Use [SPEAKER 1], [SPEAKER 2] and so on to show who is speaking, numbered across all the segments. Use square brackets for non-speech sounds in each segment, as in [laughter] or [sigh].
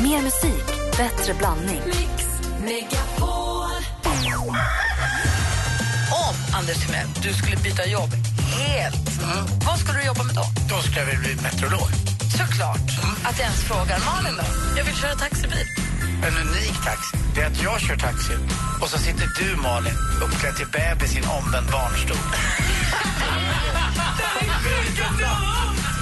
[SPEAKER 1] Mer musik, bättre blandning.
[SPEAKER 2] Mix Megapol.
[SPEAKER 3] Om, Anders Timell, du skulle byta jobb helt, vad skulle du jobba med då?
[SPEAKER 4] Då ska vi bli meteorolog.
[SPEAKER 3] Såklart att jag ens frågar. Malin då? Jag vill köra taxibil.
[SPEAKER 4] En unik taxi, det är att jag kör taxi och så sitter du, Malin, uppklädd till bebis i en omvänd barnstol.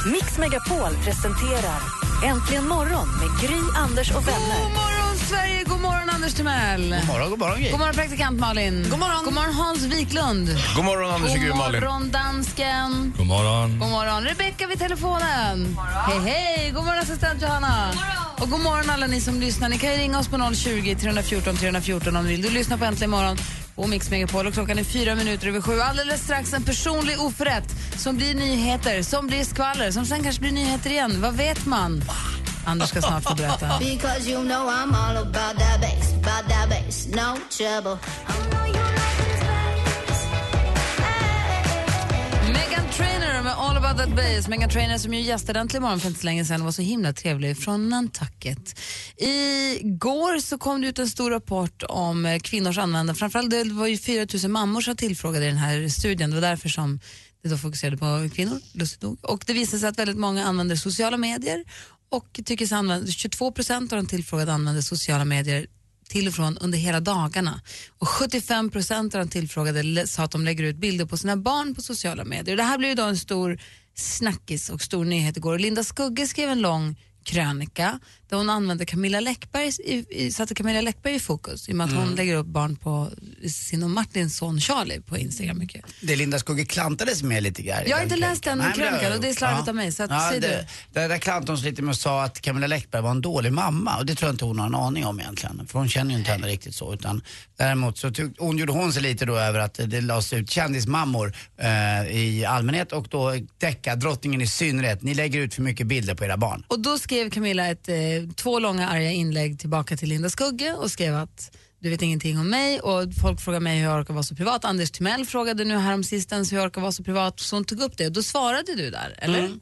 [SPEAKER 1] Mix Megapol presenterar Äntligen morgon med Gry, Anders och
[SPEAKER 2] God
[SPEAKER 1] vänner.
[SPEAKER 2] morgon, Sverige! God morgon, Anders Timell!
[SPEAKER 4] God morgon, god morgon, Gry.
[SPEAKER 2] God morgon, praktikant Malin. God morgon, God morgon Hans Wiklund.
[SPEAKER 5] God morgon, Anders och Gry
[SPEAKER 2] God
[SPEAKER 5] Malin.
[SPEAKER 2] morgon, dansken.
[SPEAKER 5] God morgon.
[SPEAKER 2] God morgon, Rebecka vid telefonen. Hej, hej! God morgon, assistent Johanna. Och god morgon alla ni som lyssnar. Ni kan ju ringa oss på 020 314 314 om ni vill. Du lyssnar på Äntligen morgon och Mix Megapol och klockan är fyra minuter över sju. Alldeles strax en personlig oförrätt som blir nyheter, som blir skvaller, som sen kanske blir nyheter igen. Vad vet man? Anders ska snart få berätta.
[SPEAKER 6] Because you know I'm all about that bass, about that bass, no trouble.
[SPEAKER 2] Megan Trainor med All about that bass. Megan Trainor som ju gästade Äntligen morgon för inte så länge sedan och var så himla trevlig från Nantucket. Igår så kom det ut en stor rapport om eh, kvinnors användande. Framförallt det var ju 4 000 mammor som tillfrågade i den här studien. Det var därför som det då fokuserade på kvinnor, lustigt nog. Och det visade sig att väldigt många använder sociala medier och tycker sig använda, 22 procent av de tillfrågade använder sociala medier till och från under hela dagarna. Och 75 procent av de tillfrågade lä- sa att de lägger ut bilder på sina barn på sociala medier. Det här blev ju då en stor snackis och stor nyhet igår. Och Linda Skugge skrev en lång krönika där hon använde Camilla Läckberg, i, i, satte Camilla Läckberg i fokus i och med att hon lägger upp barn på sin och Martins son Charlie på Instagram mycket.
[SPEAKER 4] Det Linda Skugge klantades med lite grann.
[SPEAKER 2] Jag har inte läst den
[SPEAKER 4] Nej, men har
[SPEAKER 2] krönikan och
[SPEAKER 4] jag
[SPEAKER 2] det är
[SPEAKER 4] gjort.
[SPEAKER 2] slarvigt av mig, så att säg
[SPEAKER 4] det, det där klantade hon sig lite med och sa att Camilla Läckberg var en dålig mamma och det tror jag inte hon har en aning om egentligen. För hon känner ju inte henne riktigt så. Utan däremot så tyck, hon gjorde hon sig lite då över att det lades ut kändismammor eh, i allmänhet och då deckardrottningen i synnerhet. Ni lägger ut för mycket bilder på era barn.
[SPEAKER 2] Och då skrev Camilla ett, eh, två långa arga inlägg tillbaka till Linda Skugge och skrev att du vet ingenting om mig och folk frågar mig hur jag orkar vara så privat. Anders Timell frågade nu häromsistens hur jag orkar vara så privat så hon tog upp det och då svarade du där, eller?
[SPEAKER 4] Ja, Mm.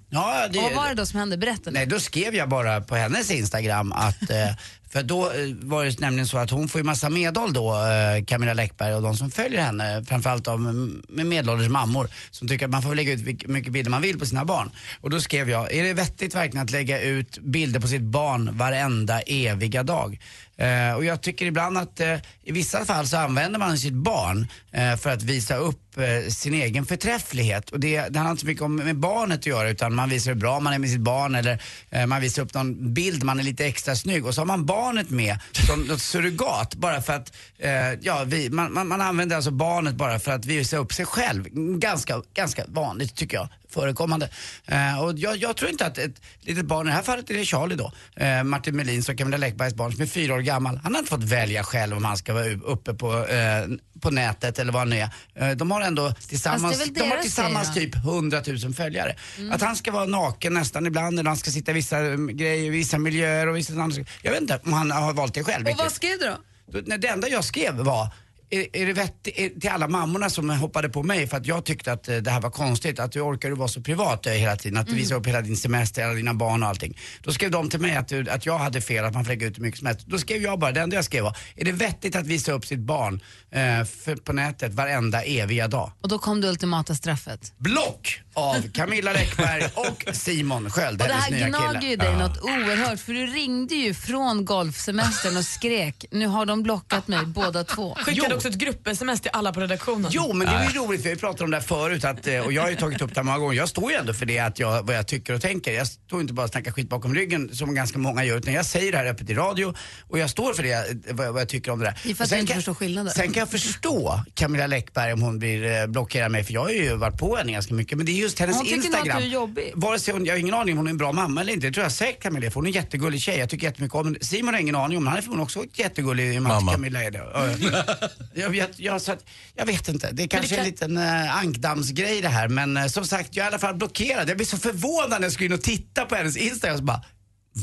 [SPEAKER 4] det,
[SPEAKER 2] Mm. Och vad var det då som hände? Berätta nu.
[SPEAKER 4] Nej, då skrev jag bara på hennes Instagram att, eh, för då eh, var det nämligen så att hon får ju massa medhåll då, eh, Camilla Läckberg och de som följer henne, framförallt av m- med medelålders mammor som tycker att man får lägga ut vilk- mycket bilder man vill på sina barn. Och då skrev jag, är det vettigt verkligen att lägga ut bilder på sitt barn varenda eviga dag? Eh, och jag tycker ibland att eh, i vissa fall så använder man sitt barn eh, för att visa upp eh, sin egen förträfflighet. Och det, det handlar inte så mycket om med barnet att göra utan man visar hur bra man är med sitt barn eller eh, man visar upp någon bild, man är lite extra snygg och så har man barnet med som något surrogat bara för att, eh, ja, vi, man, man, man använder alltså barnet bara för att visa upp sig själv. Ganska, ganska vanligt tycker jag förekommande. Eh, och jag, jag tror inte att ett litet barn, i det här fallet är det Charlie då, eh, Martin Melin och Camilla Läckbergs barn som är fyra år gammal, han har inte fått välja själv om han ska vara u- uppe på, eh, på nätet eller vad han är. Eh, de har ändå
[SPEAKER 2] Fast det
[SPEAKER 4] tillsammans,
[SPEAKER 2] är väl
[SPEAKER 4] de har
[SPEAKER 2] deras Mm.
[SPEAKER 4] tillsammans
[SPEAKER 2] grej
[SPEAKER 4] typ 100 000 följare. Att han ska vara naken nästan ibland eller han ska sitta i vissa mm, grejer, vissa miljöer och vissa andra Jag vet inte om han har valt det själv.
[SPEAKER 2] Och vad
[SPEAKER 4] riktigt.
[SPEAKER 2] skrev du då?
[SPEAKER 4] Då- när Det enda jag skrev var är, är det vett, är, till alla mammorna som hoppade på mig för att jag tyckte att eh, det här var konstigt, att du orkar du vara så privat eh, hela tiden,
[SPEAKER 2] Mm.
[SPEAKER 4] att du visar upp hela din semester, alla dina barn och allting. Då skrev de till mig att, du, att jag hade fel, att man får lägga ut hur mycket som helst. Då skrev jag bara, det enda jag skrev var, är det vettigt att visa upp sitt barn eh, för, på nätet varenda eviga dag?
[SPEAKER 2] Och då kom det ultimata straffet.
[SPEAKER 4] Block av
[SPEAKER 2] [laughs]
[SPEAKER 4] Camilla Läckberg och Simon Sköld,
[SPEAKER 2] Och det
[SPEAKER 4] hennes
[SPEAKER 2] här
[SPEAKER 4] nya
[SPEAKER 2] gnager ju
[SPEAKER 4] kille.
[SPEAKER 2] dig något oerhört för du ringde ju från golfsemestern och skrek nu har de blockat mig båda två.
[SPEAKER 7] Skickade
[SPEAKER 4] Jo.
[SPEAKER 7] också ett grupp-sms till alla på redaktionen.
[SPEAKER 4] Jo, men det är ju roligt för vi pratade om det här förut att, eh, och jag har ju tagit upp det här många gånger. Jag står ju ändå för det att jag, vad jag tycker och tänker. Jag står inte bara och snackar skit bakom ryggen som ganska många gör utan jag säger det här öppet i radio och jag står för det, eh, vad jag, vad jag tycker om det där.
[SPEAKER 2] Det är för att
[SPEAKER 4] Och sen
[SPEAKER 2] du inte
[SPEAKER 4] kan-
[SPEAKER 2] förstår skillnaden.
[SPEAKER 4] Sen kan jag förstå Camilla Läckberg om hon blir eh, blockerad mig för jag har ju varit på henne ganska mycket. Men det är just hennes
[SPEAKER 2] Hon tycker nog att
[SPEAKER 4] Instagram.
[SPEAKER 2] du är jobbig.
[SPEAKER 4] Vare sig hon, jag har ingen aning om hon är en bra mamma eller inte. Det tror jag säkert Camilla är, för hon är en jättegullig tjej. Jag tycker jättemycket om henne. Simon har ingen aning om men han är förmodligen också jättegullig man till
[SPEAKER 5] Mamma.
[SPEAKER 4] Camilla är det. Ja, Jag vet, jag, så att, jag vet inte. Det är kanske är en liten eh, ankdammsgrej det här. Men eh, som sagt, jag är i alla fall blockerad. Jag blir så förvånad när jag skulle in och titta på hennes Instagram. Så bara,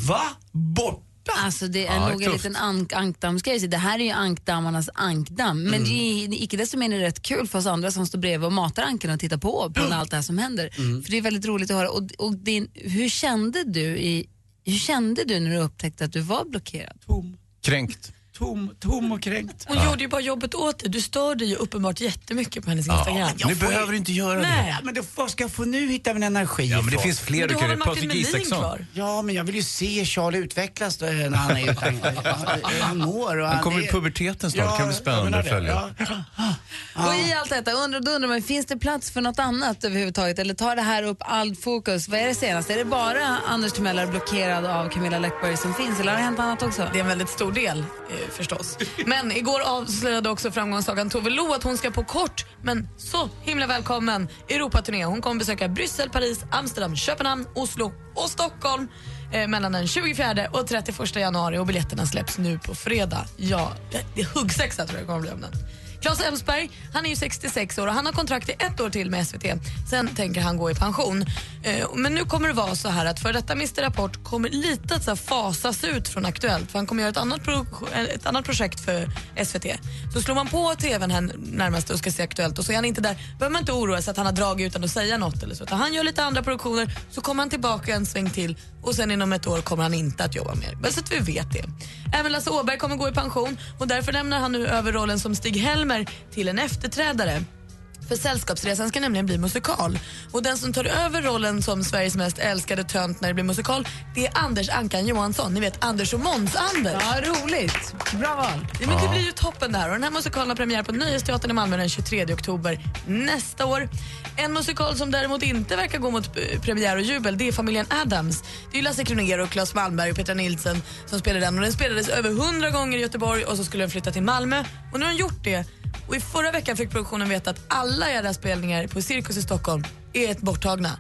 [SPEAKER 4] va? Borta?
[SPEAKER 2] Alltså det är
[SPEAKER 5] Ja,
[SPEAKER 2] nog en
[SPEAKER 5] tufft.
[SPEAKER 2] liten ank ankdammsgrej. Så Det här är ju ankdammarnas ankdamm. Men det är icke desto mindre rätt kul för oss andra som står bredvid och matar anken och tittar på på när allt det här som händer. För det är väldigt roligt att höra. Och, och din, hur kände du i, Hur kände du när du upptäckte att du var blockerad?
[SPEAKER 4] Tom,
[SPEAKER 5] Kränkt.
[SPEAKER 4] tom, tom och kränkt.
[SPEAKER 7] Hon gjorde ju bara jobbet åt dig. Du störde ju uppenbart jättemycket på hennes Instagram.
[SPEAKER 5] Nu behöver du inte göra det.
[SPEAKER 7] Nej,
[SPEAKER 4] Ja, men då, vad ska jag få nu hitta min energi
[SPEAKER 5] Ja, men det
[SPEAKER 4] ifrån?
[SPEAKER 5] finns fler
[SPEAKER 7] men
[SPEAKER 5] du
[SPEAKER 7] du har
[SPEAKER 5] kan
[SPEAKER 7] väl
[SPEAKER 5] göra.
[SPEAKER 7] Martin
[SPEAKER 5] Patrik
[SPEAKER 7] Melin
[SPEAKER 5] Isaksson.
[SPEAKER 7] kvar?
[SPEAKER 4] Ja, men jag vill ju se Charlie utvecklas då, när han [laughs] är hur han mår. och
[SPEAKER 5] Han kommer
[SPEAKER 4] är-
[SPEAKER 5] i puberteten snart. Det kan bli
[SPEAKER 4] jag
[SPEAKER 5] spännande
[SPEAKER 4] menar
[SPEAKER 5] att
[SPEAKER 4] det.
[SPEAKER 5] följa.
[SPEAKER 4] Ja.
[SPEAKER 2] Och i allt detta undrar, då undrar man, finns det plats för något annat överhuvudtaget? Eller tar det här upp all fokus? Vad är det senaste? Är det bara Anders Timell är blockerad av Camilla Läckberg som finns? Eller har det hänt annat också?
[SPEAKER 7] Alltså, Det är en väldigt stor del eh, förstås. Men igår avslöjade också framgångssagan Tove Lo att hon ska på kort, men så himla välkommen, Europaturné. Hon kommer besöka Bryssel, Paris, Amsterdam, Köpenhamn, Oslo och Stockholm eh, mellan den 24 och 31 januari och biljetterna släpps nu på fredag. Ja, det- det är huggsexa tror jag det kommer bli om den. Claes Elfsberg, han är ju 66 år och han har kontrakt i ett år till med SVT. Sen tänker han gå i pension. Eh, Men nu kommer det vara så här att för detta Mr Rapport kommer lite att så här fasas ut från Aktuellt för han kommer göra ett annat, pro- eh, ett annat projekt för SVT. Så slår man på tvn här närmast och ska se Aktuellt och så är han inte där behöver man inte oroa sig att han har dragit utan att säga något eller så. Utan han gör lite andra produktioner så kommer han tillbaka en sväng till och sen inom ett år kommer han inte att jobba mer. Bara så att vi vet det. Även Lasse Åberg kommer gå i pension och därför lämnar han nu över rollen som Stig-Helmer till en efterträdare. För Sällskapsresan ska nämligen bli musikal. Och den som tar över rollen som Sveriges mest älskade tönt när det blir musikal, det är Anders Ankan Johansson. Ni vet Anders och Måns-Anders.
[SPEAKER 2] Ja, roligt. Bra val.
[SPEAKER 7] Ja, men det blir ju toppen det här. Och den här musikalen har premiär på Nöjesteatern i Malmö den 23 oktober nästa år. En musikal som däremot inte verkar gå mot eh, premiär och jubel det är familjen Addams. Det är ju Lasse Kronér och Claes Malmberg och Petra Nilsson som spelar den. Och den spelades över 100 gånger i Göteborg och så skulle den flytta till Malmö. Och nu har den gjort det. Och i förra veckan fick produktionen veta att alla era spelningar på Cirkus i Stockholm är ett borttagna.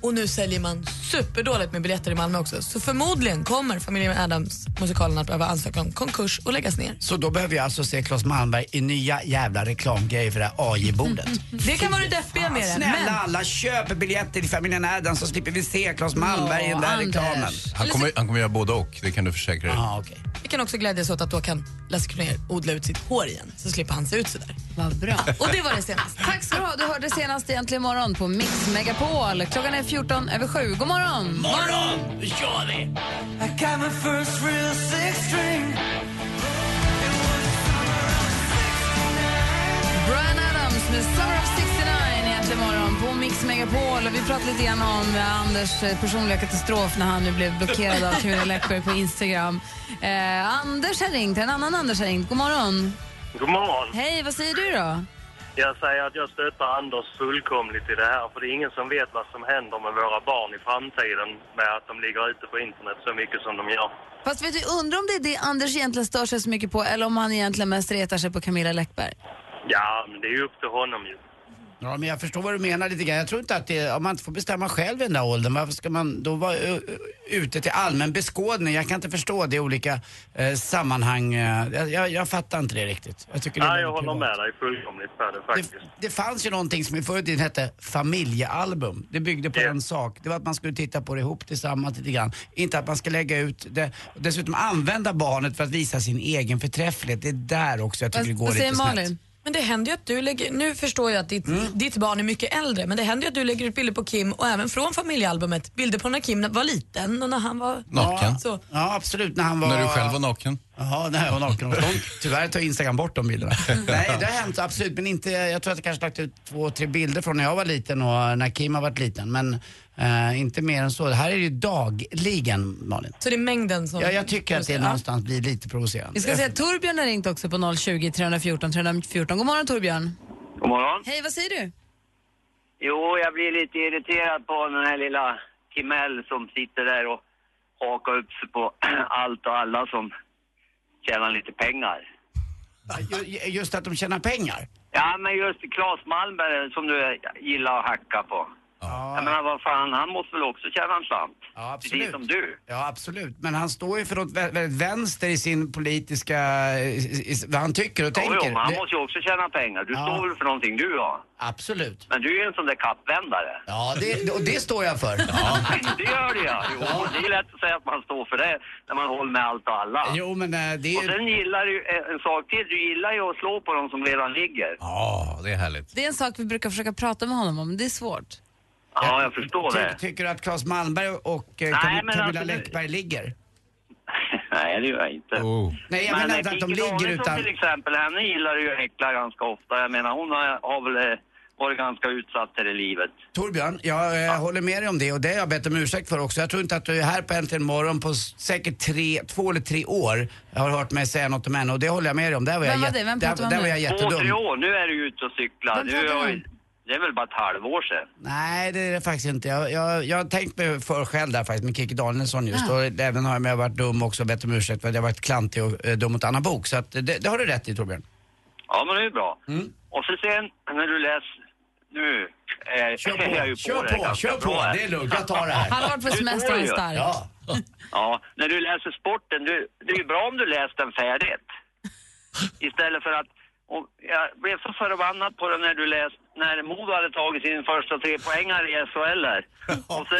[SPEAKER 7] Och nu säljer man superdåligt med biljetter i Malmö också. Så förmodligen kommer familjen Adams musikalen att behöva ansöka om konkurs och läggas ner.
[SPEAKER 4] Så då behöver jag alltså se Claes Malmberg i nya jävla reklamgrejer för det här AI-bordet.
[SPEAKER 7] Det kan vara det deppiga med det.
[SPEAKER 4] Snälla alla, köp biljetter till familjen Adams så slipper vi se Claes Malmberg i den där
[SPEAKER 2] Anders.
[SPEAKER 4] reklamen.
[SPEAKER 5] Han kommer, han kommer göra både och, det kan du försäkra dig.
[SPEAKER 4] Ja, okej.
[SPEAKER 7] Vi kan också glädjas åt att då kan Lasse Kronér odla ut sitt hår igen. Så slipper han se ut sådär.
[SPEAKER 2] Vad bra.
[SPEAKER 7] Och det var det senaste.
[SPEAKER 2] Tack ska du ha. Du hörde senast egentligen imorgon på Mix Megapol. Klockan är 14 över 7. God morgon!
[SPEAKER 4] Morgon! Nu kör vi!
[SPEAKER 2] Brian Adams med Summer of 69 egentligen imorgon på Mix Megapol. Och vi pratade lite grann om eh, Anders eh, personliga katastrof när han nu blev blockerad av Camilla Läckberg på Instagram. Eh, Anders har ringt, en annan Anders har ringt. God morgon!
[SPEAKER 8] God morgon.
[SPEAKER 2] Hej, vad säger du då?
[SPEAKER 8] Jag säger att jag stöttar Anders fullkomligt i det här för det är ingen som vet vad som händer med våra barn i framtiden med att de ligger ute på internet så mycket som de gör.
[SPEAKER 2] Fast vet du, undrar om det är det Anders egentligen stör sig så mycket på eller om han egentligen mest retar sig på Camilla Läckberg.
[SPEAKER 8] Ja, men det är ju upp till honom ju.
[SPEAKER 4] Ja, men jag förstår vad du menar lite grann. Jag tror inte att det, om man inte får bestämma själv i den där åldern, varför ska man då vara ö, ö, ute till allmän beskådning? Jag kan inte förstå det i olika eh, sammanhang. Eh, Jag, jag, jag fattar inte det riktigt. Jag tycker det är
[SPEAKER 8] Nej, jag
[SPEAKER 4] väldigt
[SPEAKER 8] håller
[SPEAKER 4] privat.
[SPEAKER 8] med dig fullkomligt på det
[SPEAKER 4] Det,
[SPEAKER 8] faktiskt.
[SPEAKER 4] det fanns ju någonting som i förr i tiden hette familjealbum. Det byggde på
[SPEAKER 8] Ja.
[SPEAKER 4] en sak. Det var att man skulle titta på det ihop tillsammans lite grann. Inte att man ska lägga ut det. Och Dessutom använda barnet för att visa sin egen förträfflighet. Det är där också jag tycker
[SPEAKER 2] Vad,
[SPEAKER 4] det går
[SPEAKER 2] vad säger
[SPEAKER 4] lite snett.
[SPEAKER 2] Malin?
[SPEAKER 7] Men det händer ju att du lägger... Nu förstår jag att ditt, ditt barn är mycket äldre, men det händer ju att du lägger ut bilder på Kim och även från familjealbumet. Bilder på när Kim var liten och när han var...
[SPEAKER 5] Naken.
[SPEAKER 7] Så.
[SPEAKER 4] Ja, absolut. När han var...
[SPEAKER 5] När du själv var naken.
[SPEAKER 4] Jaha, nej, och naken och sånt. Tyvärr tar Instagram bort
[SPEAKER 5] [laughs]
[SPEAKER 4] de bilderna. nej, det har hänt absolut, men inte, jag tror att jag kanske lagt ut två, tre bilder från när jag var liten och när Kim har varit liten. Men eh, inte mer än så. Det här är ju dagligen, Malin.
[SPEAKER 7] Så det är mängden som...
[SPEAKER 4] Ja, jag tycker att det
[SPEAKER 7] Ja.
[SPEAKER 4] någonstans blir lite
[SPEAKER 2] Vi
[SPEAKER 4] provocerande.
[SPEAKER 2] ska säga att Torbjörn har ringt också på 020 314 314. God morgon Torbjörn!
[SPEAKER 8] God morgon.
[SPEAKER 2] Hej, vad säger du?
[SPEAKER 8] Jo, jag blir lite irriterad på den här lilla Kimell som sitter där och hakar upp sig på [clears throat] allt och alla som tjänar lite pengar.
[SPEAKER 4] Ju- Just att de tjänar pengar.
[SPEAKER 8] Ja, men just Claes Malmberg som du gillar att hacka på. Jag menar, vad fan, han måste väl också tjäna en slant?
[SPEAKER 4] Ja, absolut.
[SPEAKER 8] Precis som du.
[SPEAKER 4] Ja, absolut. Men han står ju för något vä- väldigt vänster i sin politiska... I, i, i, vad han tycker och
[SPEAKER 8] Jo,
[SPEAKER 4] tänker.
[SPEAKER 8] jo, men han
[SPEAKER 4] Det-
[SPEAKER 8] måste ju också tjäna pengar. Du
[SPEAKER 4] Ja.
[SPEAKER 8] står väl för någonting du har?
[SPEAKER 4] Absolut.
[SPEAKER 8] Men du är ju en sån där kappvändare.
[SPEAKER 4] Ja, det, och det står jag för.
[SPEAKER 8] Det gör det ja. Jo, det är lätt att säga att man står för det när man håller med allt och alla.
[SPEAKER 4] Jo, men eh, det
[SPEAKER 8] Och
[SPEAKER 4] är ju...
[SPEAKER 8] sen gillar du ju eh, en sak till. Du gillar ju att slå på dem som redan ligger.
[SPEAKER 5] Ja, det är härligt.
[SPEAKER 2] Det är en sak vi brukar försöka prata med honom om, men det är svårt.
[SPEAKER 8] Ja, jag förstår
[SPEAKER 4] Ty-
[SPEAKER 8] det.
[SPEAKER 4] Tycker du att Claes Malmberg och eh,
[SPEAKER 8] Nej,
[SPEAKER 4] Cam-
[SPEAKER 8] men
[SPEAKER 4] Camilla
[SPEAKER 8] alltså, det-
[SPEAKER 4] Läckberg ligger?
[SPEAKER 8] [laughs] Nej, det gör jag inte.
[SPEAKER 5] Oh.
[SPEAKER 4] Nej, jag
[SPEAKER 8] Men
[SPEAKER 4] menar
[SPEAKER 8] eh,
[SPEAKER 4] inte att de
[SPEAKER 8] Kikki
[SPEAKER 4] ligger
[SPEAKER 8] Danielsson
[SPEAKER 4] utan...
[SPEAKER 8] till exempel, henne gillar du ju att häckla ganska ofta. Jag menar, hon har, har väl eh, varit ganska utsatt här i livet.
[SPEAKER 4] Torbjörn, jag eh, håller med dig om det och det har jag bett om ursäkt för också. Jag tror inte att du är här på Äntligen Morgon på s- säkert tre, två eller tre år. Jag har hört mig säga något om henne och det håller jag med dig om. Där var jag,
[SPEAKER 2] Vem var
[SPEAKER 4] jätte-
[SPEAKER 2] det? Vem
[SPEAKER 4] där,
[SPEAKER 2] pratar man
[SPEAKER 4] där var
[SPEAKER 2] nu?
[SPEAKER 4] jag
[SPEAKER 8] Två, tre
[SPEAKER 4] jättedum.
[SPEAKER 8] år, nu är du ute och cyklar.
[SPEAKER 2] Vem
[SPEAKER 8] Du,
[SPEAKER 2] pratar
[SPEAKER 8] har ju-
[SPEAKER 2] om?
[SPEAKER 8] det är väl bara ett halvår sedan.
[SPEAKER 4] Nej, det är det faktiskt inte. Jag, jag, jag har tänkt mig för själv där faktiskt med Kikki Danielsson just. Och även har jag med varit dum också och bett om ursäkt för att jag varit klantig och eh, dum mot Anna Bok. Så att, eh, det, det har du rätt i Torbjörn.
[SPEAKER 8] Ja, men det är ju bra.
[SPEAKER 4] Mm.
[SPEAKER 8] Och så sen när du läser... Nu eh,
[SPEAKER 4] Kör
[SPEAKER 8] [laughs] är jag ju
[SPEAKER 4] på,
[SPEAKER 8] på det
[SPEAKER 4] kör på,
[SPEAKER 8] ganska
[SPEAKER 4] kör
[SPEAKER 8] bra
[SPEAKER 4] på.
[SPEAKER 8] här.
[SPEAKER 4] Det är lugnt, jag tar det
[SPEAKER 2] [laughs]
[SPEAKER 4] här.
[SPEAKER 2] Han har varit på
[SPEAKER 8] Du
[SPEAKER 2] semester
[SPEAKER 8] tror
[SPEAKER 2] och är stark.
[SPEAKER 8] ju.
[SPEAKER 4] Ja.
[SPEAKER 8] Ja, när du läser sporten, du, det är ju bra om du läser den färdigt. Istället för att... Och jag blev så förbannad på det när du läste, när Modo hade tagit sin första trepoängare i SHL här. Och så,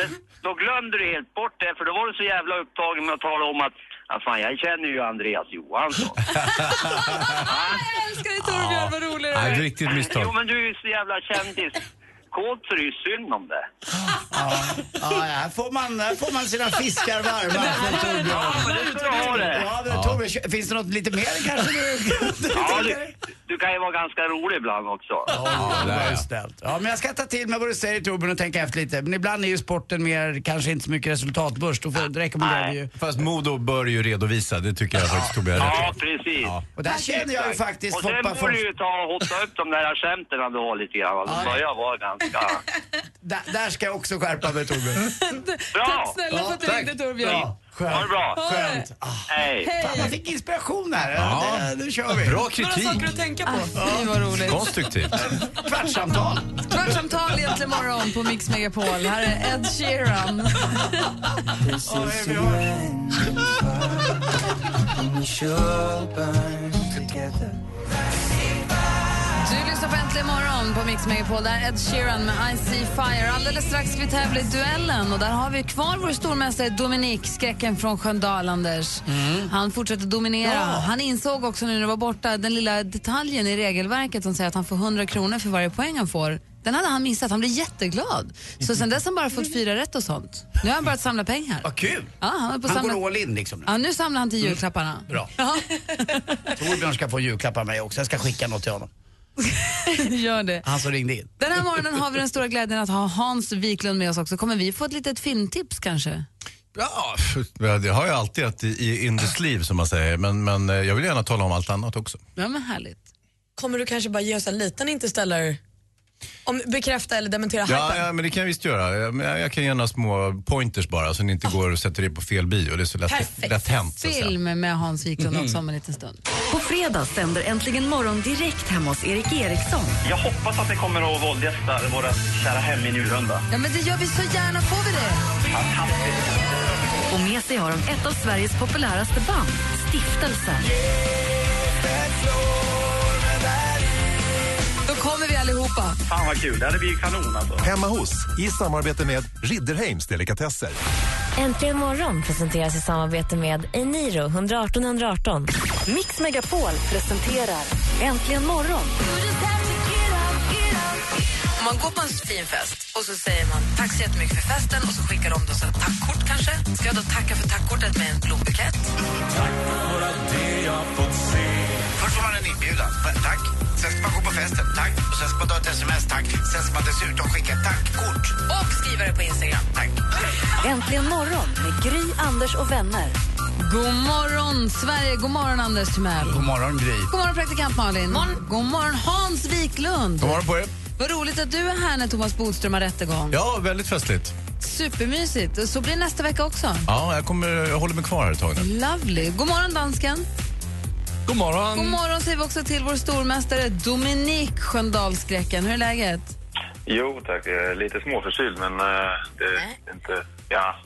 [SPEAKER 8] då glömde du helt bort det, för då var du så jävla upptagen med att tala om att ja, fan, jag känner ju Andreas Johansson.
[SPEAKER 2] Jag älskar dig Torbjörn, vad rolig du
[SPEAKER 5] Nej, ett
[SPEAKER 2] är.
[SPEAKER 5] riktigt
[SPEAKER 8] Jo,
[SPEAKER 5] misstag.
[SPEAKER 8] men du är ju så jävla kändis. Kåt så det är ju synd om det.
[SPEAKER 4] Ja, här får man, här får man sina fiskar
[SPEAKER 2] [laughs]
[SPEAKER 4] varma från Torbjörn.
[SPEAKER 8] Ja, men det ska du ha det.
[SPEAKER 4] Ja, men Torbjörn, kö- finns det något lite mer kanske du, [laughs] du
[SPEAKER 8] Ja, du,
[SPEAKER 4] tänker?
[SPEAKER 8] du kan ju vara ganska rolig ibland också.
[SPEAKER 4] Ja,
[SPEAKER 5] där,
[SPEAKER 4] bra
[SPEAKER 5] ja.
[SPEAKER 4] ställt. ja, men jag ska ta till mig vad du säger Torbjörn och tänka efter lite. Men ibland är ju sporten mer, kanske inte så mycket resultatbörs. Då får- rekommenderar vi ju.
[SPEAKER 5] Fast Modo bör ju redovisa, det tycker jag faktiskt Tobias har
[SPEAKER 8] Ja,
[SPEAKER 5] rätt i.
[SPEAKER 8] precis.
[SPEAKER 5] Ja.
[SPEAKER 4] Och där känner jag ju faktiskt
[SPEAKER 8] Och sen
[SPEAKER 4] Foppa
[SPEAKER 8] borde du
[SPEAKER 4] först.
[SPEAKER 8] ju ta och hotta upp de där skämten du har lite grann.
[SPEAKER 4] Ja.
[SPEAKER 8] De börjar vara ganska...
[SPEAKER 4] Där, där ska jag också skärpa mig Torbjörn.
[SPEAKER 2] Tack
[SPEAKER 8] Bra!
[SPEAKER 2] snälla för att du
[SPEAKER 4] tack.
[SPEAKER 2] ringde Torbjörn.
[SPEAKER 4] Ja, skönt.
[SPEAKER 8] Ha det bra!
[SPEAKER 4] Skönt. Ah,
[SPEAKER 8] Hej!
[SPEAKER 4] fan, jag fick inspiration här.
[SPEAKER 5] Ja.
[SPEAKER 4] Det- Nu kör vi.
[SPEAKER 5] Bra
[SPEAKER 7] Några saker
[SPEAKER 5] kritik.
[SPEAKER 7] att tänka på.
[SPEAKER 2] Ah, Fy vad roligt.
[SPEAKER 5] Konstruktivt.
[SPEAKER 4] Kvartssamtal.
[SPEAKER 2] Kvartsamtal egentligen imorgon på Mix Megapol. Här är Ed Sheeran.
[SPEAKER 4] Ja, vi har-
[SPEAKER 2] Du lyssnar på Äntligen morgon på Mix Megapol. Där är Ed Sheeran med I see fire. Alldeles strax ska vi tävla i duellen och där har vi kvar vår stormästare Dominik, skräcken från Sköndal, Anders. Han fortsätter dominera. Han insåg också nu när det var borta den lilla detaljen i regelverket som säger att han får 100 kronor för varje poäng han får. Den hade han missat. Han blev jätteglad. Så sen dess har han bara fått fyra rätt och sånt. Nu har han börjat samla pengar.
[SPEAKER 4] Vad kul.
[SPEAKER 2] Ja, han är på
[SPEAKER 4] Han
[SPEAKER 2] samla...
[SPEAKER 4] går all in liksom. nu.
[SPEAKER 2] Ja, nu samlar han till julklapparna.
[SPEAKER 4] Bra.
[SPEAKER 2] [laughs] Ja,
[SPEAKER 4] Torbjörn ska få en julklapp av mig också. Jag ska skicka något till honom.
[SPEAKER 2] gör det.
[SPEAKER 4] Han som ringde in.
[SPEAKER 2] Den här morgonen har vi den stora glädjen att ha Hans Wiklund med oss också. Kommer vi få ett litet filmtips kanske?
[SPEAKER 5] Ja, det har jag alltid att i, i Indus liv som man säger. Men, men eh, jag vill gärna tala om allt annat också.
[SPEAKER 2] Ja men härligt.
[SPEAKER 7] Kommer du kanske bara ge oss en liten interstellar? Om, bekräfta eller dementera
[SPEAKER 5] Ja,
[SPEAKER 7] hypen.
[SPEAKER 5] ja, men det kan jag visst göra. Jag, men jag- jag kan ge några små pointers bara så ni
[SPEAKER 6] Ah.
[SPEAKER 5] inte går och sätter er på fel bio. Det är så lätt,
[SPEAKER 7] Perfekt.
[SPEAKER 5] lätt hänt. så att säga.
[SPEAKER 2] Film med Hans Wiklund också om en liten stund.
[SPEAKER 1] På fredag sänder Äntligen morgon direkt hemma hos Erik Eriksson.
[SPEAKER 8] Jag hoppas att ni kommer att våldgästa våra kära hem i Njurunda.
[SPEAKER 2] Ja men det gör vi så gärna, får vi det?
[SPEAKER 1] Och med sig har de ett av Sveriges populäraste band, Stiftelsen.
[SPEAKER 2] Då kommer vi allihopa.
[SPEAKER 8] Fan vad kul, det hade blivit kanon alltså.
[SPEAKER 9] Hemma hos, i samarbete med Ridderheims Delikatesser.
[SPEAKER 10] Äntligen morgon presenteras i samarbete med Eniro 118 118.
[SPEAKER 1] Mix Megapol presenterar Äntligen morgon
[SPEAKER 3] Om man går på en fin fest och så säger man tack så jättemycket för festen och så skickar de då så här tackkort kanske. Ska jag då tacka för tackkortet med en blombukett?
[SPEAKER 11] Först får man en inbjudan. F- Tack. Sen ska man gå på festen. Tack. Och sen ska man ta ett sms. Tack. Sen ska man dessutom skicka ett tackkort.
[SPEAKER 3] Och skriva det på Instagram.
[SPEAKER 11] Tack.
[SPEAKER 1] Äntligen morgon med Gry, Anders och vänner.
[SPEAKER 2] God morgon Sverige, god morgon Anders Timell.
[SPEAKER 4] God morgon Gry.
[SPEAKER 2] God morgon praktikant Malin. God morgon Hans Wiklund.
[SPEAKER 5] God morgon på er.
[SPEAKER 2] Vad roligt att du är här när Thomas Bodström har rättegång.
[SPEAKER 5] Ja, väldigt festligt.
[SPEAKER 2] Supermysigt. Och så blir det nästa vecka också.
[SPEAKER 5] Ja, jag, kommer, jag håller mig kvar här ett tag nu.
[SPEAKER 2] Lovely. God morgon dansken.
[SPEAKER 5] God morgon.
[SPEAKER 2] God morgon säger vi också till vår stormästare Dominik Sköndalskräcken. Hur är läget?
[SPEAKER 11] Jo, tack. Jag är lite småförkyld, men eh, det är inte... Ja,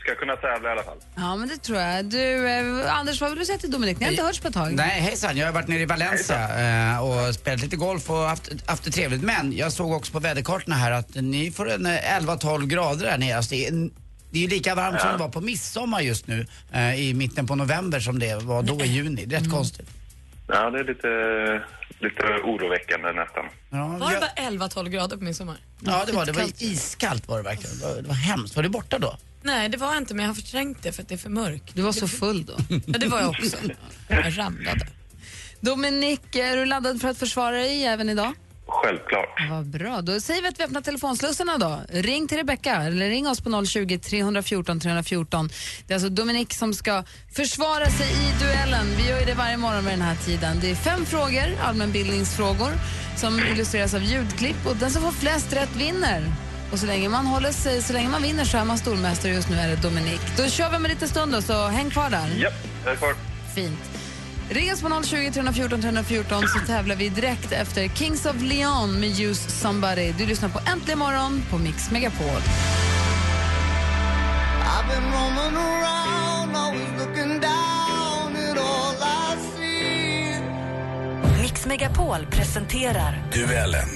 [SPEAKER 11] ska kunna tävla i alla fall.
[SPEAKER 2] Ja, men det tror jag. Du, eh, Anders, vad vill du säga till Dominik? Ni har inte hörts på ett tag.
[SPEAKER 4] Nej, hejsan. Jag har varit nere i Valencia eh, och spelat lite golf och haft, haft det trevligt. Men jag såg också på väderkartorna här att ni får en eh, 11-12 grader här nere. Alltså det, är en, det är ju lika varmt som det
[SPEAKER 7] Mm.
[SPEAKER 4] var på midsommar just nu eh, i mitten på november som det var då i juni. Det är Rätt konstigt.
[SPEAKER 12] Ja, det är lite, lite oroväckande nästan.
[SPEAKER 7] Var det bara 11-12 grader på midsommar?
[SPEAKER 4] Ja, det var, det var iskallt var det verkligen. Det var, det var hemskt. Var du borta då?
[SPEAKER 7] Nej, det var jag inte, men jag har förträngt det för att det är för mörkt.
[SPEAKER 2] Du var så full
[SPEAKER 4] [laughs]
[SPEAKER 2] då.
[SPEAKER 7] Ja, det var jag också. Jag ramlade.
[SPEAKER 2] Dominik, är du laddad för att försvara dig även idag?
[SPEAKER 12] Självklart.
[SPEAKER 2] Vad bra. Då säger vi att vi öppnar telefonslussarna då. Ring till Rebecka eller ring oss på 020 314 314. Det är alltså Dominik som ska försvara sig i duellen. Vi gör ju det varje morgon vid den här tiden. Det är fem frågor, allmänbildningsfrågor, som illustreras av ljudklipp och den som får flest rätt vinner. Och så länge man håller sig, så länge man vinner så är man stormästare. Just nu är det Dominik. Då kör vi med lite stund då, så häng kvar där.
[SPEAKER 12] Japp, jag är kvar.
[SPEAKER 2] Fint. Ring oss på 020 314 314 så tävlar vi direkt efter Kings of Leon med Use Somebody. Du lyssnar på Äntligen morgon på Mix Megapol.
[SPEAKER 6] I've been roaming around, always looking down at all I see.
[SPEAKER 3] Mix Megapol presenterar
[SPEAKER 11] Duellen.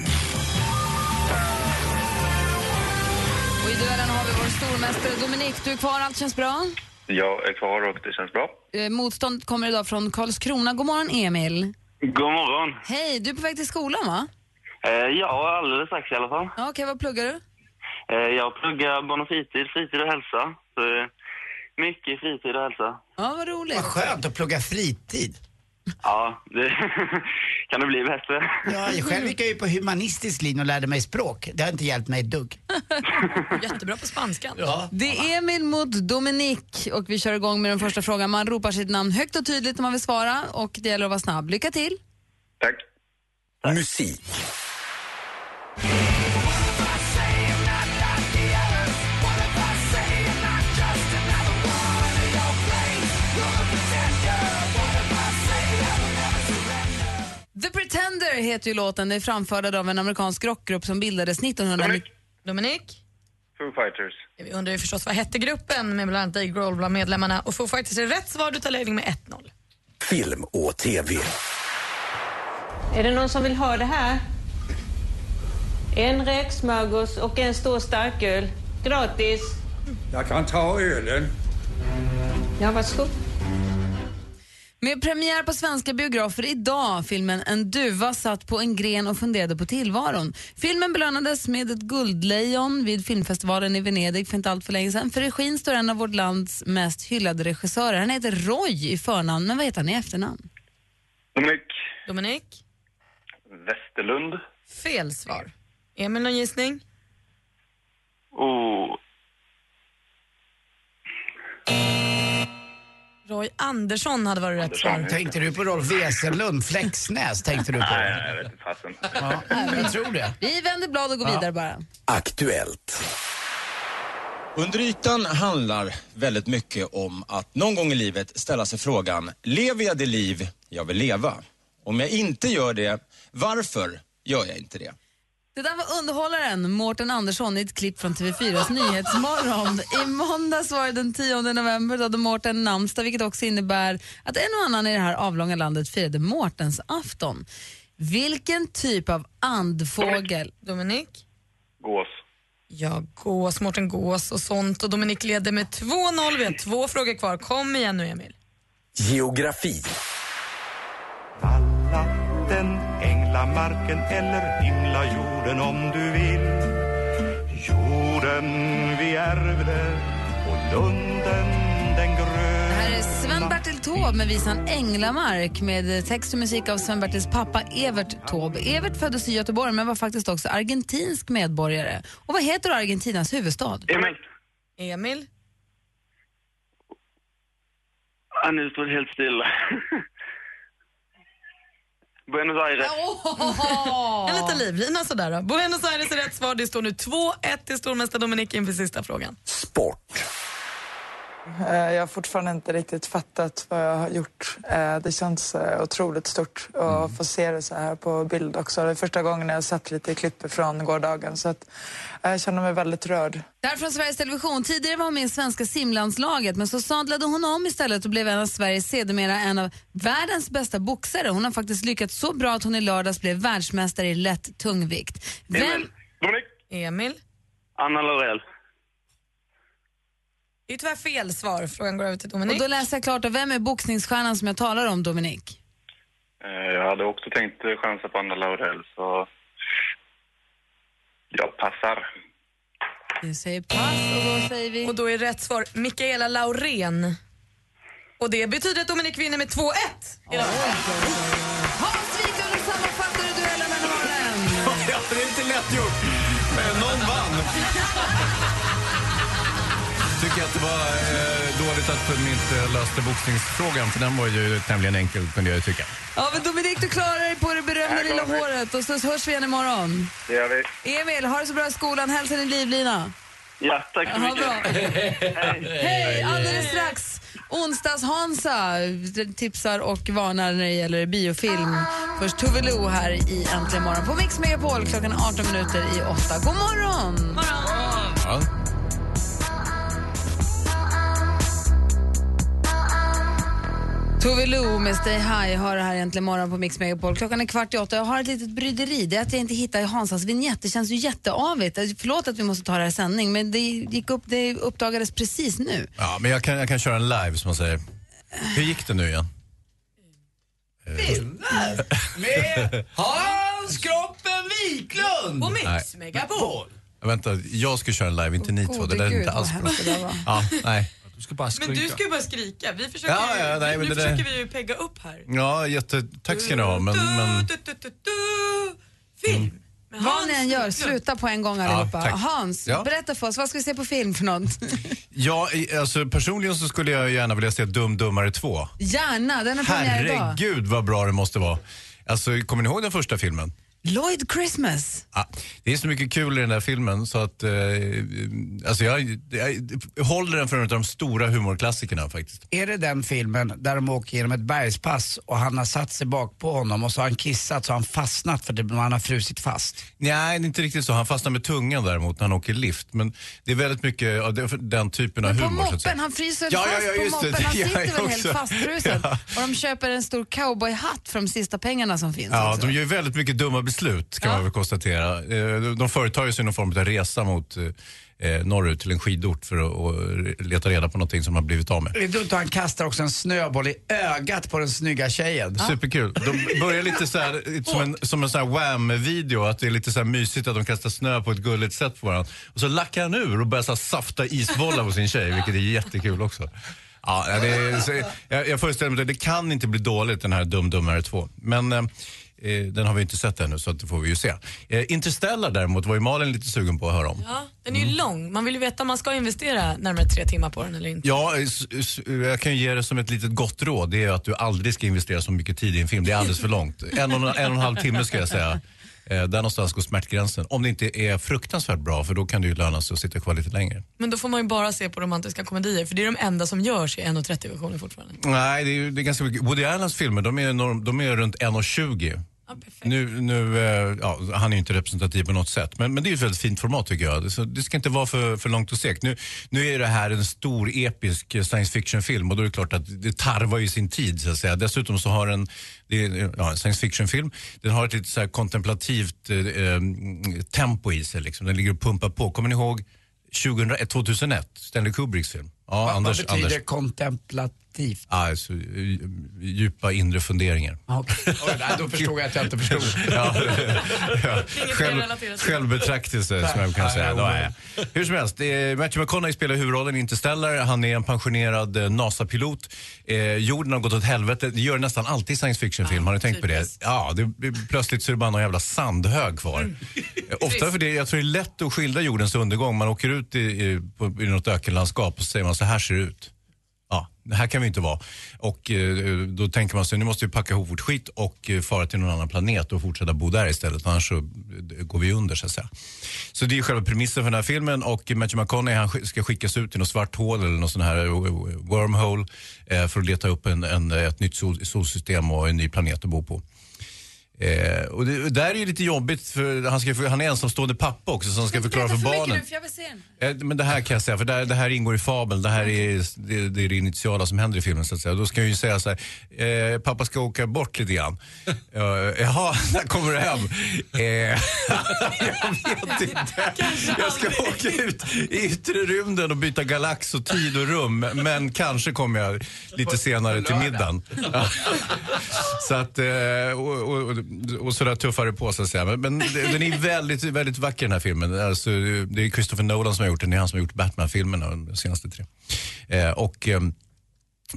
[SPEAKER 2] Och i duellen har vi vår stormästare Dominik. Du är kvar, allt känns bra.
[SPEAKER 12] Jag är kvar och det känns bra.
[SPEAKER 2] Eh, motstånd kommer idag från Karlskrona. God morgon, Emil.
[SPEAKER 13] God morgon.
[SPEAKER 2] Hej, du är på väg till skolan va?
[SPEAKER 13] Eh, ja, alldeles strax i alla fall.
[SPEAKER 2] Ja, Okej, vad pluggar du?
[SPEAKER 13] Eh, jag pluggar barn och fritid, fritid och hälsa. Så, eh, mycket fritid och hälsa.
[SPEAKER 2] Ja, vad roligt.
[SPEAKER 4] Vad skönt att plugga fritid.
[SPEAKER 13] Ja, det [laughs] kan det bli bättre.
[SPEAKER 4] Ja, jag själv gick jag ju på humanistisk linje och lärde mig språk. Det har inte hjälpt mig ett dugg.
[SPEAKER 7] Jättebra på spanskan.
[SPEAKER 2] Det är Emil mot Dominik och vi kör igång med den första frågan. Man ropar sitt namn högt och tydligt när man vill svara och det gäller att vara snabb. Lycka till!
[SPEAKER 11] Musik.
[SPEAKER 2] The Pretender heter ju låten. Den är framförd av en amerikansk rockgrupp som bildades 1990.
[SPEAKER 7] Dominik?
[SPEAKER 12] Foo Fighters.
[SPEAKER 7] Vi undrar ju förstås vad hette gruppen med bland annat Dave Grohl bland medlemmarna och Foo Fighters är rätt svar. Du tar ledning med 1-0.
[SPEAKER 11] Film och TV.
[SPEAKER 14] Är det någon som vill ha det här? En räksmörgås och en stor starköl. Gratis.
[SPEAKER 15] Jag kan ta ölen.
[SPEAKER 14] Ja, varsågod.
[SPEAKER 2] Med premiär på svenska biografer idag, filmen En duva satt på en gren och funderade på tillvaron. Filmen belönades med ett guldlejon vid filmfestivalen i Venedig för inte allt för länge sedan. För regin står en av vårt lands mest hyllade regissörer. Han heter Roy i förnamn, men vad heter han i efternamn?
[SPEAKER 12] Dominik
[SPEAKER 7] Dominik?
[SPEAKER 12] Westerlund.
[SPEAKER 7] Fel svar. Emil, någon gissning?
[SPEAKER 12] Oh,
[SPEAKER 7] Roy Andersson hade varit rätt svar.
[SPEAKER 4] Tänkte du på Rolf Wesenlund, Flexnäs tänkte du på?
[SPEAKER 12] nej, jag vet inte fasen.
[SPEAKER 4] Ja, jag tror det.
[SPEAKER 2] Vi vänder blad och går
[SPEAKER 4] Ja.
[SPEAKER 2] vidare bara.
[SPEAKER 16] Aktuellt. Under ytan handlar väldigt mycket om att någon gång i livet ställa sig frågan, lever jag det liv jag vill leva? Om jag inte gör det, varför gör jag inte det?
[SPEAKER 2] Det där var underhållaren Mårten Andersson i ett klipp från
[SPEAKER 14] [laughs]
[SPEAKER 2] TV4s Nyhetsmorgon. I måndags var det den 10 november, då hade Mårten namnsdag vilket också innebär att en och annan i det här avlånga landet firade Mårtensafton. Vilken typ av andfågel?
[SPEAKER 7] Dominik?
[SPEAKER 12] Gås.
[SPEAKER 7] Ja, gås, Mårten Gås och sånt. Och Dominik leder med 2-0. Vi har två frågor kvar. Kom igen nu, Emil.
[SPEAKER 11] Geografi.
[SPEAKER 17] Natten, änglamarken eller himla jorden om du vill Jorden vi ärvde och lunden den gröna
[SPEAKER 2] Det här är Sven-Bertil Taube med visan Änglamark med text och musik av Sven-Bertils pappa Evert Taube. Evert föddes i Göteborg men var faktiskt också argentinsk medborgare. Och vad heter då Argentinas huvudstad?
[SPEAKER 13] Emil.
[SPEAKER 7] Emil?
[SPEAKER 13] Ah, nu står det helt stilla. [laughs] Buenos Aires.
[SPEAKER 7] en liten livlina sådär då. Buenos Aires är rätt svar. Det står nu 2-1 till stormästare Dominik inför sista frågan.
[SPEAKER 18] Eh, Jag har fortfarande inte riktigt fattat vad jag har gjort. Eh, Det känns eh, otroligt stort att få se det så här på bild också. Det är första gången jag har sett lite klipp från gårdagen så att eh, jag känner mig väldigt rörd.
[SPEAKER 2] Det här är från Sveriges Television. Tidigare var hon med i svenska simlandslaget men så sadlade hon om istället och blev en av Sveriges sedermera en av världens bästa boxare. Hon har faktiskt lyckats så bra att hon i lördags blev världsmästare i lätt tungvikt. Vem...
[SPEAKER 13] Dominik.
[SPEAKER 7] Emil?
[SPEAKER 13] Anna Laurell.
[SPEAKER 7] Det är ju tyvärr fel svar. Frågan går över till
[SPEAKER 2] Och
[SPEAKER 7] Dominik.
[SPEAKER 2] då läser jag klart, och vem är boxningsstjärnan som jag talar om, Dominik?
[SPEAKER 12] Eh, Jag hade också tänkt eh, chansa på Anna Laurell, så jag passar.
[SPEAKER 2] Vi säger pass och då säger vi...
[SPEAKER 7] Och då är rätt svar Mikaela Laurén. Och det betyder att Dominik vinner med 2-1. idag.
[SPEAKER 2] Hans Wiklund sammanfattade duellen den här morgonen.
[SPEAKER 5] Ja, det är inte lätt gjort, men någon vann. Tycker att det var eh, dåligt att de inte löste boxningsfrågan, för den var ju tämligen enkel kunde jag ju tycka.
[SPEAKER 2] Ja, men Dominik, du klarar dig på det berömda
[SPEAKER 5] Jag
[SPEAKER 2] lilla
[SPEAKER 5] klarar mig.
[SPEAKER 2] håret och så hörs vi igen imorgon.
[SPEAKER 12] Det gör vi.
[SPEAKER 2] Emil, ha det så bra i skolan. Hälsa din livlina.
[SPEAKER 12] Ja, tack
[SPEAKER 2] så mycket. Hej! Alldeles strax Onsdags-Hansa tipsar och varnar när det gäller biofilm. Först Tove Lo här i Äntligen morgon på Mix Megapol klockan 18 minuter i 8. God morgon!
[SPEAKER 5] Ja.
[SPEAKER 2] Tove Lo med Stay High har det här egentligen morgon på Mix Megapol. Klockan är kvart i åtta. Jag har ett litet bryderi. Det är att jag inte hittar Hansas vignett. Det känns ju jätteavigt. Alltså, Förlåt att vi måste ta det här i sändning, men det, gick upp, det uppdagades precis nu.
[SPEAKER 5] Ja, men jag kan, jag kan köra en live som man säger. Hur gick det nu igen?
[SPEAKER 6] Med Hans Kroppen Wiklund!
[SPEAKER 5] På Mix Nej. Megapol. Ja, Vänta, jag ska köra en live, inte ni två. Det
[SPEAKER 6] Gode
[SPEAKER 5] där är
[SPEAKER 6] Gud,
[SPEAKER 5] inte
[SPEAKER 6] vad
[SPEAKER 5] alls bra.
[SPEAKER 6] hemskt det där var.
[SPEAKER 5] Ja, nej. Du ska bara
[SPEAKER 6] skrika.
[SPEAKER 7] Men du ska ju bara skrika. Vi försöker,
[SPEAKER 5] Ja, ja, nej, men
[SPEAKER 7] nu
[SPEAKER 5] det där-
[SPEAKER 7] försöker vi ju pegga upp här.
[SPEAKER 5] Ja, jätte... Tack ska ni ha, men... men...
[SPEAKER 7] Film!
[SPEAKER 2] Vad ni än gör, sluta på en gång allihopa.
[SPEAKER 5] tack.
[SPEAKER 2] Hans,
[SPEAKER 5] Ja.
[SPEAKER 2] berätta för oss, vad ska vi se på film för
[SPEAKER 5] [laughs]
[SPEAKER 2] något?
[SPEAKER 5] Ja, i- alltså personligen så skulle jag gärna vilja se Dum Dummare 2.
[SPEAKER 2] Gärna, den har premiär idag.
[SPEAKER 5] Herregud vad bra det måste vara. Alltså, kommer ni ihåg den första filmen?
[SPEAKER 2] Lloyd Christmas.
[SPEAKER 5] Ja, det är så mycket kul i den där filmen så att eh, alltså jag, jag håller den för en av de stora humorklassikerna faktiskt.
[SPEAKER 4] Är det den filmen där de åker genom ett bergspass och han har satt sig bak på honom och så har han kissat så har han fastnat för det, han har frusit fast?
[SPEAKER 5] Nej, det är inte riktigt så. Han fastnar med tungan däremot när han åker lift. Men det är väldigt mycket av den- den typen av
[SPEAKER 2] Men på
[SPEAKER 5] humor. så att säga.
[SPEAKER 2] moppen, han fryser väl
[SPEAKER 5] Ja,
[SPEAKER 2] fast
[SPEAKER 5] ja,
[SPEAKER 2] på moppen,
[SPEAKER 5] [laughs] ja, just det.
[SPEAKER 2] han sitter
[SPEAKER 5] Det gör jag
[SPEAKER 2] väl helt
[SPEAKER 5] också.
[SPEAKER 2] fastfrusen.
[SPEAKER 5] Ja.
[SPEAKER 2] Och de köper en stor cowboyhatt för de sista pengarna som finns.
[SPEAKER 5] Ja,
[SPEAKER 2] också.
[SPEAKER 5] de gör ju väldigt mycket dumma beslut kan man väl konstatera. Eh, de- De företar ju sig någon form av resa mot eh, norrut till en skidort för att och leta reda på någonting som har blivit av med.
[SPEAKER 4] Det är dumt att han kastar också en snöboll i ögat på den snygga tjejen.
[SPEAKER 5] Superkul. De börjar lite så här, lite som en, som en så här Wham-video, att det är lite så här mysigt att de kastar snö på ett gulligt sätt på varandra. Och så lackar han ur och börjar så här safta isbollar på sin tjej, vilket är jättekul också. Ja, det är, så, jag, jag föreställer mig att det kan inte bli dåligt den här Dum Dummare 2. Men eh, eh, den har vi inte sett ännu så att det får vi ju se. Eh, Interstellar däremot var ju Malin lite sugen på att höra om.
[SPEAKER 7] Ja, den är ju lång. Man vill ju veta om man ska investera närmare tre timmar på den eller inte.
[SPEAKER 5] Ja, s- s- jag kan ju ge det som ett litet gott råd. Det är att du aldrig ska investera så mycket tid i en film. Det är alldeles för långt. En och en, en, och en halv timme ska jag säga. Eh, där någonstans går smärtgränsen. Om det inte är fruktansvärt bra, för då kan det ju löna sig att sitta kvar lite längre.
[SPEAKER 7] Men då får man ju bara se på romantiska komedier för det är de enda som görs i 1.30-versionen fortfarande.
[SPEAKER 5] Nej, det är, ju- det är ganska mycket. Woody Allens filmer, de är, norm, de är runt 1,20. Nu, nu, eh, ja, han är ju inte representativ på något sätt, men, men det är ju ett väldigt fint format tycker jag. Det- Så det ska inte vara för, för långt och segt. Nu, nu är det här en stor episk eh, science fiction-film och då är det klart att det tarvar ju sin tid så att säga. Dessutom så har den, det är, ja, en science fiction-film, den har ett lite så här kontemplativt eh, eh, tempo i sig liksom. Den ligger och pumpar på. Kommer ni ihåg 2001, 2001, Stanley Kubricks film? Ja,
[SPEAKER 4] Vad-
[SPEAKER 5] Anders,
[SPEAKER 4] vad betyder
[SPEAKER 5] Anders.
[SPEAKER 4] kontemplativt?
[SPEAKER 5] Ja, alltså, eh, djupa inre funderingar. [laughs]
[SPEAKER 4] Oj, nej, då förstod jag att jag inte förstod.
[SPEAKER 5] Ja, ja.
[SPEAKER 4] kan
[SPEAKER 5] Själv,
[SPEAKER 4] relatera till.
[SPEAKER 5] självbetraktelse som jag kan
[SPEAKER 4] Nej,
[SPEAKER 5] säga.
[SPEAKER 4] nej,
[SPEAKER 5] Då är jag. Hur som helst, eh, Matthew McConaughey spelar huvudrollen i Interstellar. Han är en pensionerad eh, NASA-pilot. Eh, jorden har gått åt helvete. Det gör det nästan alltid i science fiction-film. Har ni tänkt på det? Ja, det, plötsligt så är det bara någon jävla sandhög kvar. Eh, Ofta för det, jag tror det är lätt att skildra jordens undergång. Man åker ut i, i, på, i något ökenlandskap och så säger man så här ser det ut. Ja, det här kan vi inte vara. Och eh, då tänker man sig, nu måste vi packa ihop vårt skit och eh, fara till någon annan planet och fortsätta bo där istället, annars så eh, går vi under så att säga. Så det är själva premissen för den här filmen och Matthew McConaughey han sk- ska skickas ut i något svart hål eller någon sån här eh, wormhole eh, för att leta upp en, en, ett nytt sol- solsystem och en ny planet att bo på. Eh, och det och där är ju lite jobbigt för han, ska, för han är ensamstående pappa också som ska förklara för barnen.
[SPEAKER 2] jag vill se den.
[SPEAKER 5] Eh, Men det här kan jag säga, för det här, det här ingår i fabeln. Det här är det, det, är det initiala som händer i filmen. Så att säga. Då ska jag ju säga så här, eh, pappa ska åka bort lite grann. Eh, Jaha, när kommer du hem? Eh, jag vet inte. Jag ska åka ut i yttre rymden och byta galax och tid och rum. Men kanske kommer jag lite senare till middagen. Ja. Så att, eh, och, och, och- och sådär tuffar det på så att säga. Men, men det- den är väldigt, väldigt vacker den här filmen. Alltså, det är Christopher Nolan som har gjort den. Det är han som har gjort Batman-filmerna, de senaste tre. Eh, och, ehm,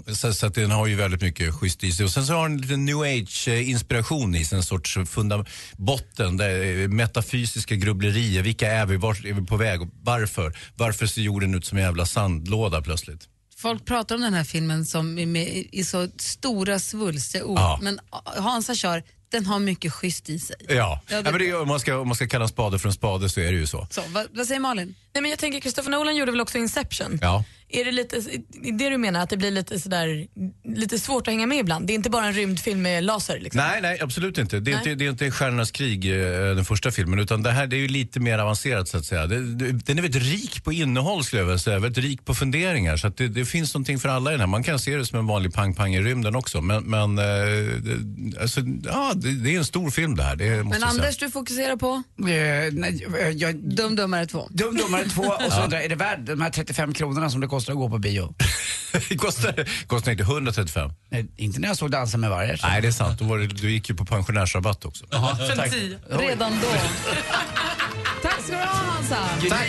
[SPEAKER 5] så, så att den har ju väldigt mycket schysst i sig. Och sen så har den lite new age-inspiration i sig, en sorts funda- botten, där, eh, metafysiska grubblerier. Vilka är vi? Vart är vi på väg? Och Varför? Varför ser jorden ut som en jävla sandlåda plötsligt?
[SPEAKER 2] Folk pratar om den här filmen som i, med, i så stora svulsteord,
[SPEAKER 5] Ja. Eh.
[SPEAKER 2] men ah, Hansa kör, den har mycket schysst i sig.
[SPEAKER 5] Ja,
[SPEAKER 2] Ja, det-
[SPEAKER 5] ja men det, är- om, man ska, om man ska kalla en spade för en spade så är det ju så.
[SPEAKER 2] Så, vad, vad säger Malin?
[SPEAKER 7] Nej, men jag tänker Christopher Nolan gjorde väl också Inception?
[SPEAKER 5] Ja.
[SPEAKER 7] Är det lite är det du menar, att det blir lite, sådär, lite svårt att hänga med ibland? Det är inte bara en rymdfilm med laser? Liksom.
[SPEAKER 5] Nej, nej, absolut inte. Det är,
[SPEAKER 7] Nej.
[SPEAKER 5] Inte, det är inte Stjärnornas krig, eh, den första filmen, utan det här det är ju lite mer avancerat så att säga. Det, det, den är väldigt rik på innehåll skulle jag vilja säga, väldigt rik på funderingar. Så att det, det finns någonting för alla i den här. Man kan se det som en vanlig pang-pang i rymden också. Men, men eh, det, alltså, ja, det, det är en stor film det här, det måste
[SPEAKER 2] Men
[SPEAKER 5] jag säga. [laughs]
[SPEAKER 2] Anders, du fokuserar på?
[SPEAKER 4] Eh, nej, jag, jag,
[SPEAKER 2] Dum Dummare 2.
[SPEAKER 4] Dum Dummare 2 och så undrar jag, är det värd de här 35 kronorna som det kostar att gå på bio?
[SPEAKER 5] Det kostar, kostar inte 135.
[SPEAKER 4] Nej, inte när jag såg Dansa med alltså. vargar.
[SPEAKER 5] Nej, det är sant. Då var det, du gick ju på pensionärsrabatt också.
[SPEAKER 4] tack.
[SPEAKER 2] Redan [laughs] då. Tack ska du ha Hansa.
[SPEAKER 5] Tack.